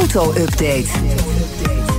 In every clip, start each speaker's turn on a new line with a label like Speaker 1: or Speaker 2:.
Speaker 1: Auto-update.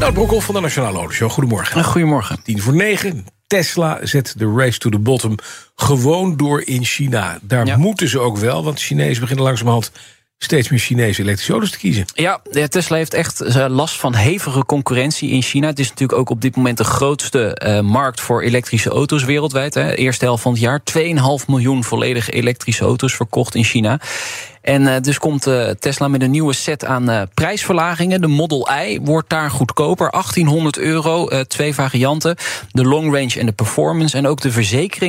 Speaker 2: Nou, Broekhoff van de Nationale Autoshow. Goedemorgen.
Speaker 3: Goedemorgen.
Speaker 2: 10 voor 9. Tesla zet de race to the bottom gewoon door in China. Daar
Speaker 3: Ja.
Speaker 2: moeten ze ook wel, want de Chinezen beginnen langzamerhand steeds meer Chinese elektrische auto's te kiezen.
Speaker 3: Ja, eh, Tesla heeft echt eh, last van hevige concurrentie in China. Het is natuurlijk ook op dit moment de grootste eh, markt voor elektrische auto's wereldwijd. Hè. Eerste helft van het jaar 2,5 miljoen volledig elektrische auto's verkocht in China. En eh, dus komt eh, Tesla met een nieuwe set aan eh, prijsverlagingen. De Model I wordt daar goedkoper, 1800 euro, eh, twee varianten. De Long Range en de Performance. En ook de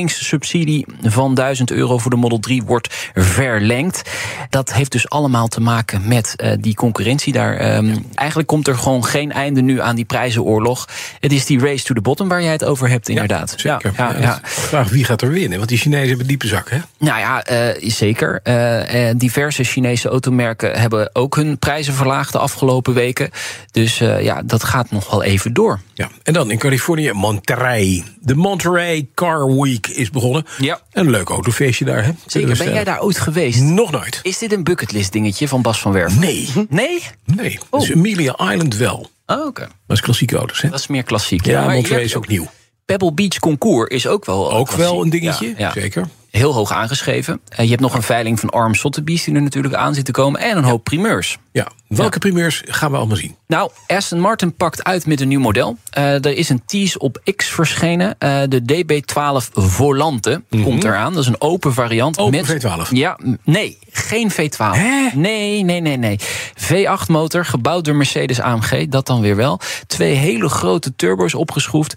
Speaker 3: verzekeringssubsidie van 1000 euro voor de Model 3 wordt verlengd. Dat heeft dus allemaal te maken met eh, die concurrentie daar. Ehm, Eigenlijk komt er gewoon geen einde nu aan die prijzenoorlog. Het is die race to the bottom waar jij het over hebt, inderdaad.
Speaker 2: Ja, zeker.
Speaker 3: Ja, ja, ja.
Speaker 2: Vraag wie gaat er winnen, want die Chinezen hebben diepe zak, hè?
Speaker 3: Nou ja, eh, zeker. Eh, eh, diverse Chinese automerken hebben ook hun prijzen verlaagd de afgelopen weken. Dus eh, ja, dat gaat nog wel even door.
Speaker 2: Ja, en dan in Californië Monterey. De Monterey Car Week is begonnen.
Speaker 3: Ja.
Speaker 2: Een leuk autofeestje daar, hè? Kunnen we
Speaker 3: Zeker. Ben jij
Speaker 2: stellen.
Speaker 3: daar ooit geweest?
Speaker 2: Nog nooit.
Speaker 3: Is dit een bucketlist dingetje van Bas van Werven?
Speaker 2: Nee,
Speaker 3: Nee?
Speaker 2: nee. Dus Amelia Island wel.
Speaker 3: Oh, Oké.
Speaker 2: Dat is klassieke auto's, hè?
Speaker 3: Oh. Dat is meer klassiek.
Speaker 2: Ja,
Speaker 3: maar je
Speaker 2: Monterey
Speaker 3: hebt
Speaker 2: is ook nieuw.
Speaker 3: Pebble Beach Concours is ook wel.
Speaker 2: Ook
Speaker 3: klassiek.
Speaker 2: wel een dingetje,
Speaker 3: Ja, ja.
Speaker 2: zeker.
Speaker 3: Heel hoog aangeschreven. Eh, je hebt nog een veiling van Arm Sotheby's die er natuurlijk aan zit te komen. En een hoop primeurs.
Speaker 2: Ja. Welke primeurs gaan we allemaal zien?
Speaker 3: Nou, Aston Martin pakt uit met een nieuw model. Eh, er is een tease op X verschenen. Eh, de DB12 Volante komt eraan. Dat is een open variant.
Speaker 2: Mhm. Open V12.
Speaker 3: Ja, m- nee, geen V12.
Speaker 2: Hè?
Speaker 3: Nee, nee, nee, nee. V8 motor, gebouwd door Mercedes AMG. Dat dan weer wel. Twee hele grote turbo's opgeschroefd.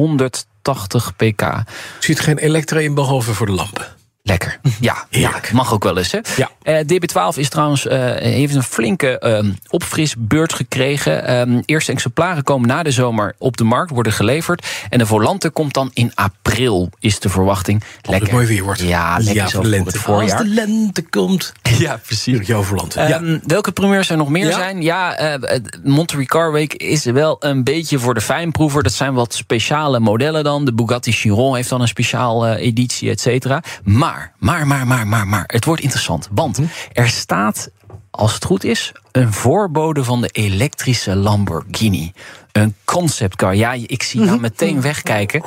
Speaker 3: 680 pk.
Speaker 2: Er zit geen elektra in, behalve voor de lampen.
Speaker 3: Lekker. Ja, ja,
Speaker 2: Mhm. Heerlijk.
Speaker 3: mag ook wel eens. Hè?
Speaker 2: Ja.
Speaker 3: Eh, DB12 is trouwens, eh, heeft een flinke ehm opfrisbeurt gekregen. Ehm, eerste exemplaren komen na de zomer op de markt, worden geleverd. En de volante komt dan in april, is de verwachting.
Speaker 2: Als het mooi weer wordt.
Speaker 3: Ja,
Speaker 2: voor
Speaker 3: lekker zo
Speaker 2: de
Speaker 3: voor
Speaker 2: lente.
Speaker 3: het voorjaar.
Speaker 2: Als de lente komt.
Speaker 3: Ja, precies.
Speaker 2: Tuurlijk, jouw verland. ja.
Speaker 3: Ehm, welke primeurs er nog meer
Speaker 2: Ja?
Speaker 3: zijn? Ja, eh Monterey Car Week is wel een beetje voor de fijnproever. Dat zijn wat speciale modellen dan. De Bugatti Chiron heeft dan een speciaal eh, editie, et cetera. Maar, maar, maar, maar, maar, maar. Het wordt interessant. Want
Speaker 2: Mhm.
Speaker 3: er staat, als het goed is, een voorbode van de elektrische Lamborghini. Een conceptcar. Ja, ik
Speaker 2: Mhm.
Speaker 3: zie jou meteen wegkijken.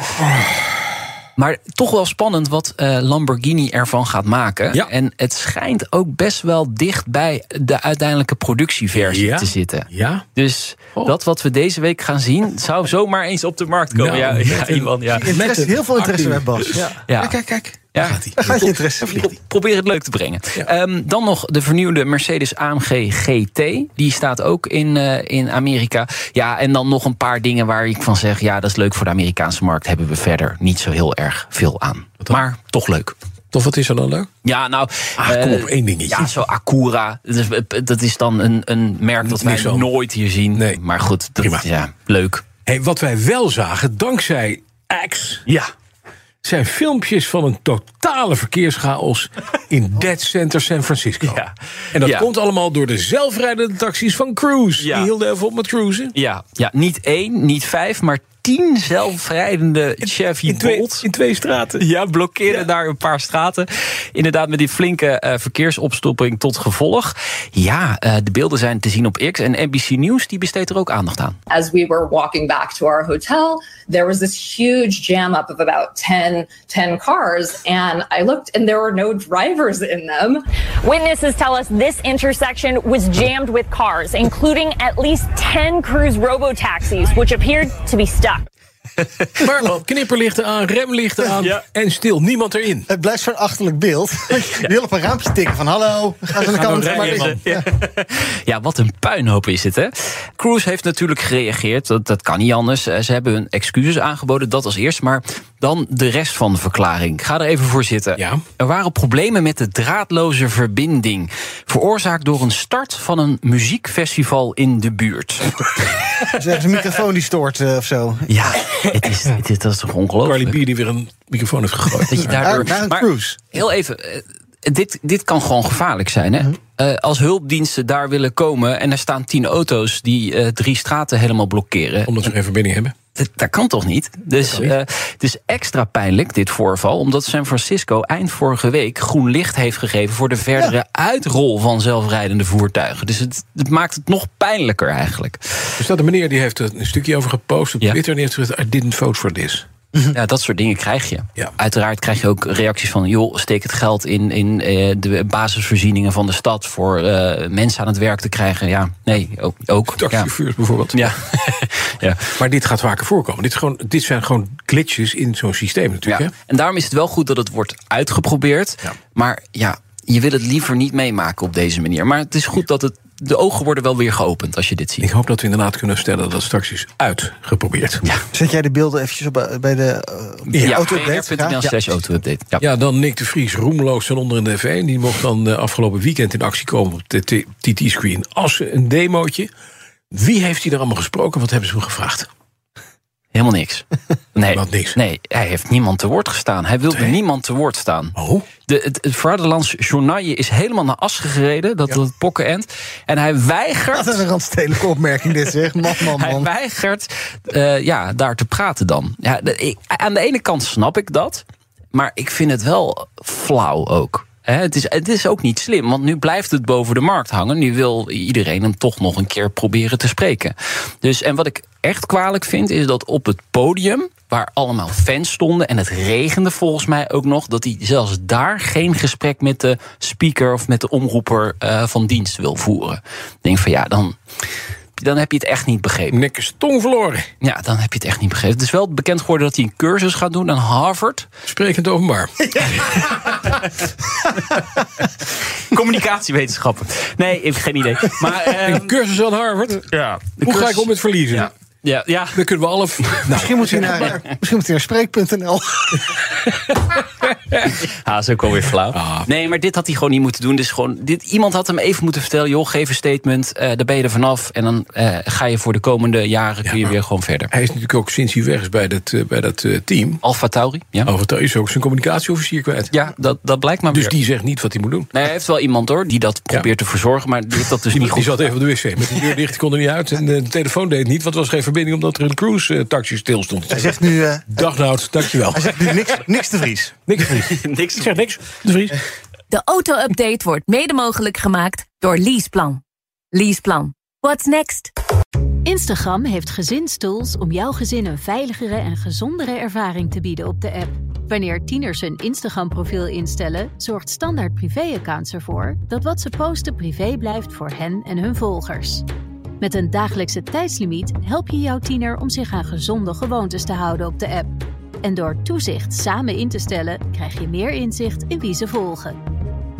Speaker 3: Maar toch wel spannend wat eh, Lamborghini ervan gaat maken.
Speaker 2: Ja.
Speaker 3: En het schijnt ook best wel dicht bij de uiteindelijke productieversie
Speaker 2: Ja.
Speaker 3: te zitten.
Speaker 2: Ja.
Speaker 3: Dus
Speaker 2: Oh.
Speaker 3: dat wat we deze week gaan zien, zou zomaar eens op de markt komen.
Speaker 2: Nou,
Speaker 3: ja,
Speaker 2: met
Speaker 3: ja,
Speaker 2: een-
Speaker 3: Iwan, ja.
Speaker 4: Interesse,
Speaker 2: Met een
Speaker 4: heel veel interesse bij Bas.
Speaker 3: Ja.
Speaker 2: Kijk, kijk, kijk.
Speaker 3: Ja.
Speaker 2: Daar gaat hij.
Speaker 4: Daar gaat je interesse.
Speaker 3: Pro- Probeer het leuk te brengen.
Speaker 2: Ja.
Speaker 3: Ehm, dan nog de vernieuwde Mercedes AMG GT. Die staat ook in, eh, in Amerika. Ja, en dan nog een paar dingen waar ik van zeg... ja, dat is leuk voor de Amerikaanse markt. Hebben we verder niet zo heel erg veel aan. Maar toch leuk.
Speaker 2: Toch, wat is er dan leuk?
Speaker 3: Ja, nou.
Speaker 2: Ah, kom
Speaker 3: eh,
Speaker 2: op, één dingetje.
Speaker 3: Ja, zo Acura. Dat is, dat is dan een, een merk dat wij
Speaker 2: Niks over.
Speaker 3: nooit hier zien.
Speaker 2: Nee.
Speaker 3: Maar goed, dat,
Speaker 2: Prima.
Speaker 3: ja, leuk.
Speaker 2: Hey, wat wij wel zagen, dankzij X,
Speaker 3: Ja.
Speaker 2: zijn filmpjes van een totale verkeerschaos in Dead Center San Francisco.
Speaker 3: Ja.
Speaker 2: En dat
Speaker 3: Ja.
Speaker 2: komt allemaal door de zelfrijdende taxis van Cruise.
Speaker 3: Ja.
Speaker 2: Die hielden even op met cruisen.
Speaker 3: Ja, ja, niet één, niet vijf, maar tien zelfrijdende Chevy
Speaker 2: In twee,
Speaker 3: Bolt.
Speaker 2: in twee straten.
Speaker 3: Ja, blokkeren daar een paar straten. Inderdaad, met die flinke eh, verkeersopstopping tot gevolg. Ja, eh, de beelden zijn te zien op X. En NBC News die besteedt er ook aandacht aan.
Speaker 5: as we were walking back to our hotel, there was this huge jam up of about 10, 10 cars. And I looked and there were no drivers in them.
Speaker 6: Witnesses tell us this intersection was jammed with cars, including at least 10 cruise robo taxis, which appeared to be stuck.
Speaker 2: Maar knipperlichten aan, remlichten aan
Speaker 1: Ja.
Speaker 2: en stil niemand erin.
Speaker 4: Het blijft zo'n achterlijk beeld. Je wil op een raampje tikken van hallo, we gaan ze de
Speaker 2: Ga nou
Speaker 4: kant.
Speaker 2: rijden,
Speaker 4: Maar-
Speaker 2: man.
Speaker 3: Ja, wat een puinhoop is het, hè? Cruise heeft natuurlijk gereageerd. Dat, dat kan niet anders. Eh, Ze hebben hun excuses aangeboden, dat als eerst. Maar dan de rest van de verklaring. Ik ga er even voor zitten.
Speaker 2: Ja.
Speaker 3: Er waren problemen met de draadloze verbinding. Veroorzaakt door een start van een muziekfestival in de buurt.
Speaker 4: Ze hebben een microfoon die stoort eh, of zo.
Speaker 3: Ja, het is, het is, dat is toch
Speaker 2: Carly
Speaker 3: ongelooflijk?
Speaker 2: B die weer een microfoon heeft gegooid.
Speaker 3: Oh. Dat je
Speaker 4: Daar- daar een
Speaker 3: maar
Speaker 4: cruise.
Speaker 3: Heel even. eh, Dit, dit kan gewoon gevaarlijk zijn. Hè? Eh, als hulpdiensten daar willen komen en er staan tien auto's die eh, drie straten helemaal blokkeren.
Speaker 2: Omdat ze geen verbinding hebben.
Speaker 3: Dat, dat kan toch niet? Dus eh, het is extra pijnlijk, dit voorval, omdat San Francisco eind vorige week groen licht heeft gegeven voor de verdere uitrol van zelfrijdende voertuigen. Dus het, het maakt het nog pijnlijker eigenlijk.
Speaker 2: Er staat een meneer die heeft er een stukje over gepost op
Speaker 3: Ja.
Speaker 2: Twitter. En die heeft gezegd: I didn't vote for this.
Speaker 3: Ja, dat soort dingen krijg je.
Speaker 2: Ja.
Speaker 3: Uiteraard krijg je ook reacties van: joh, steek het geld in, in eh, de basisvoorzieningen van de stad voor eh, mensen aan het werk te krijgen. Ja, nee, ook. ook ja.
Speaker 2: Taxichauffeurs bijvoorbeeld.
Speaker 3: Ja. ja.
Speaker 2: Maar dit gaat vaker voorkomen. Dit, is gewoon, dit zijn gewoon glitches in zo'n systeem natuurlijk.
Speaker 3: Ja.
Speaker 2: hè?
Speaker 3: En daarom is het wel goed dat het wordt uitgeprobeerd.
Speaker 2: Ja.
Speaker 3: Maar ja, je wil het liever niet meemaken op deze manier. Maar het is goed dat het, de ogen worden wel weer geopend als je dit
Speaker 2: Ik
Speaker 3: ziet.
Speaker 2: hoop dat we inderdaad kunnen stellen dat straks is uitgeprobeerd. Ja.
Speaker 4: Zet jij de beelden eventjes op, eh, bij de eh,
Speaker 3: Ja,
Speaker 4: auto-update?
Speaker 3: vr.nl slash auto-update. Ja.
Speaker 2: ja, dan Nick de Vries, roemloos van onder in de F1. Die mocht dan eh, afgelopen weekend in actie komen op de T- TT-screen. Als een demootje. Wie heeft hij daar allemaal gesproken? Wat hebben ze hem gevraagd?
Speaker 3: Helemaal niks. Nee,
Speaker 2: Wat niks.
Speaker 3: nee, hij heeft niemand te woord gestaan. Hij wilde niemand te woord staan.
Speaker 2: Oh,
Speaker 3: De, het het Vaderlands Journaille is helemaal naar as gereden. Dat dat pokkenend. En hij weigert...
Speaker 4: Wat een randstedelijke opmerking dit zeg. Man, man,
Speaker 3: Hij
Speaker 4: man.
Speaker 3: weigert eh, ja, daar te praten dan. Ja, de- ik- aan de ene kant snap ik dat, maar ik vind het wel flauw ook. Hè, het, is, het is ook niet slim, want nu blijft het boven de markt hangen. Nu wil iedereen hem toch nog een keer proberen te spreken. Dus, en wat ik echt kwalijk vind, is dat op het podium, waar allemaal fans stonden en het regende volgens mij ook nog, dat hij zelfs daar geen gesprek met de speaker of met de omroeper eh, van dienst wil voeren. Ik denk van ja, dan, dan heb je het echt niet begrepen.
Speaker 2: Nick is tong verloren.
Speaker 3: Ja, dan heb je het echt niet begrepen. Het is wel bekend geworden dat hij een cursus gaat doen aan Harvard.
Speaker 2: Sprekend openbaar.
Speaker 3: Communicatiewetenschappen. Nee, ik heb geen idee. Maar ehm,
Speaker 2: Een cursus aan Harvard.
Speaker 3: ja, de
Speaker 2: Hoe ga ik
Speaker 3: cursus-
Speaker 2: om met verliezen?
Speaker 3: Ja, ja.
Speaker 2: Dan kunnen we alle... Nou,
Speaker 4: Misschien moet hij naar, misschien moet hij naar spreek.nl.
Speaker 3: Ah, is ook alweer flauw.
Speaker 2: Ah.
Speaker 3: Nee, maar dit had hij gewoon niet moeten doen. Dus gewoon, dit, iemand had hem even moeten vertellen: joh, geef een statement. eh, daar ben je er vanaf. En dan eh, ga je voor de komende jaren kun je weer gewoon verder.
Speaker 2: hij is natuurlijk ook sinds hij weg is bij dat, eh, bij dat eh, team...
Speaker 3: Alfa Tauri. Ja,
Speaker 2: Overigens is ook zijn communicatieofficier kwijt.
Speaker 3: ja dat, dat blijkt maar
Speaker 2: Oh. Dus
Speaker 3: weer.
Speaker 2: die zegt niet wat hij moet doen.
Speaker 3: Nee, hij heeft wel iemand hoor die dat probeert te verzorgen. Maar die heeft dat dus
Speaker 2: Die,
Speaker 3: niet goed.
Speaker 2: die zat even op de wc. Met de deur dicht, die kon er niet uit. En eh, de telefoon deed het niet, want er was geen verbinding... omdat er een cruise-taxi stil stond.
Speaker 4: Hij zegt nu, eh,
Speaker 2: Dag Nout, dankjewel.
Speaker 4: hij zegt nu niks, niks te Vries.
Speaker 2: Niks te Vries.
Speaker 3: Niks.
Speaker 2: Ik zeg niks. De Vries.
Speaker 7: De auto-update wordt mede mogelijk gemaakt door Leaseplan. Leaseplan. What's next?
Speaker 8: Instagram heeft gezinstools om jouw gezin een veiligere en gezondere ervaring te bieden op de app. Wanneer tieners een Instagram-profiel instellen, zorgt standaard privéaccounts ervoor dat wat ze posten privé blijft voor hen en hun volgers. Met een dagelijkse tijdslimiet help je jouw tiener om zich aan gezonde gewoontes te houden op de app. En door toezicht samen in te stellen, krijg je meer inzicht in wie ze volgen.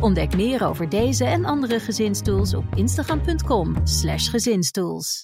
Speaker 8: Ontdek meer over deze en andere gezinstools op instagram.com/gezinstools.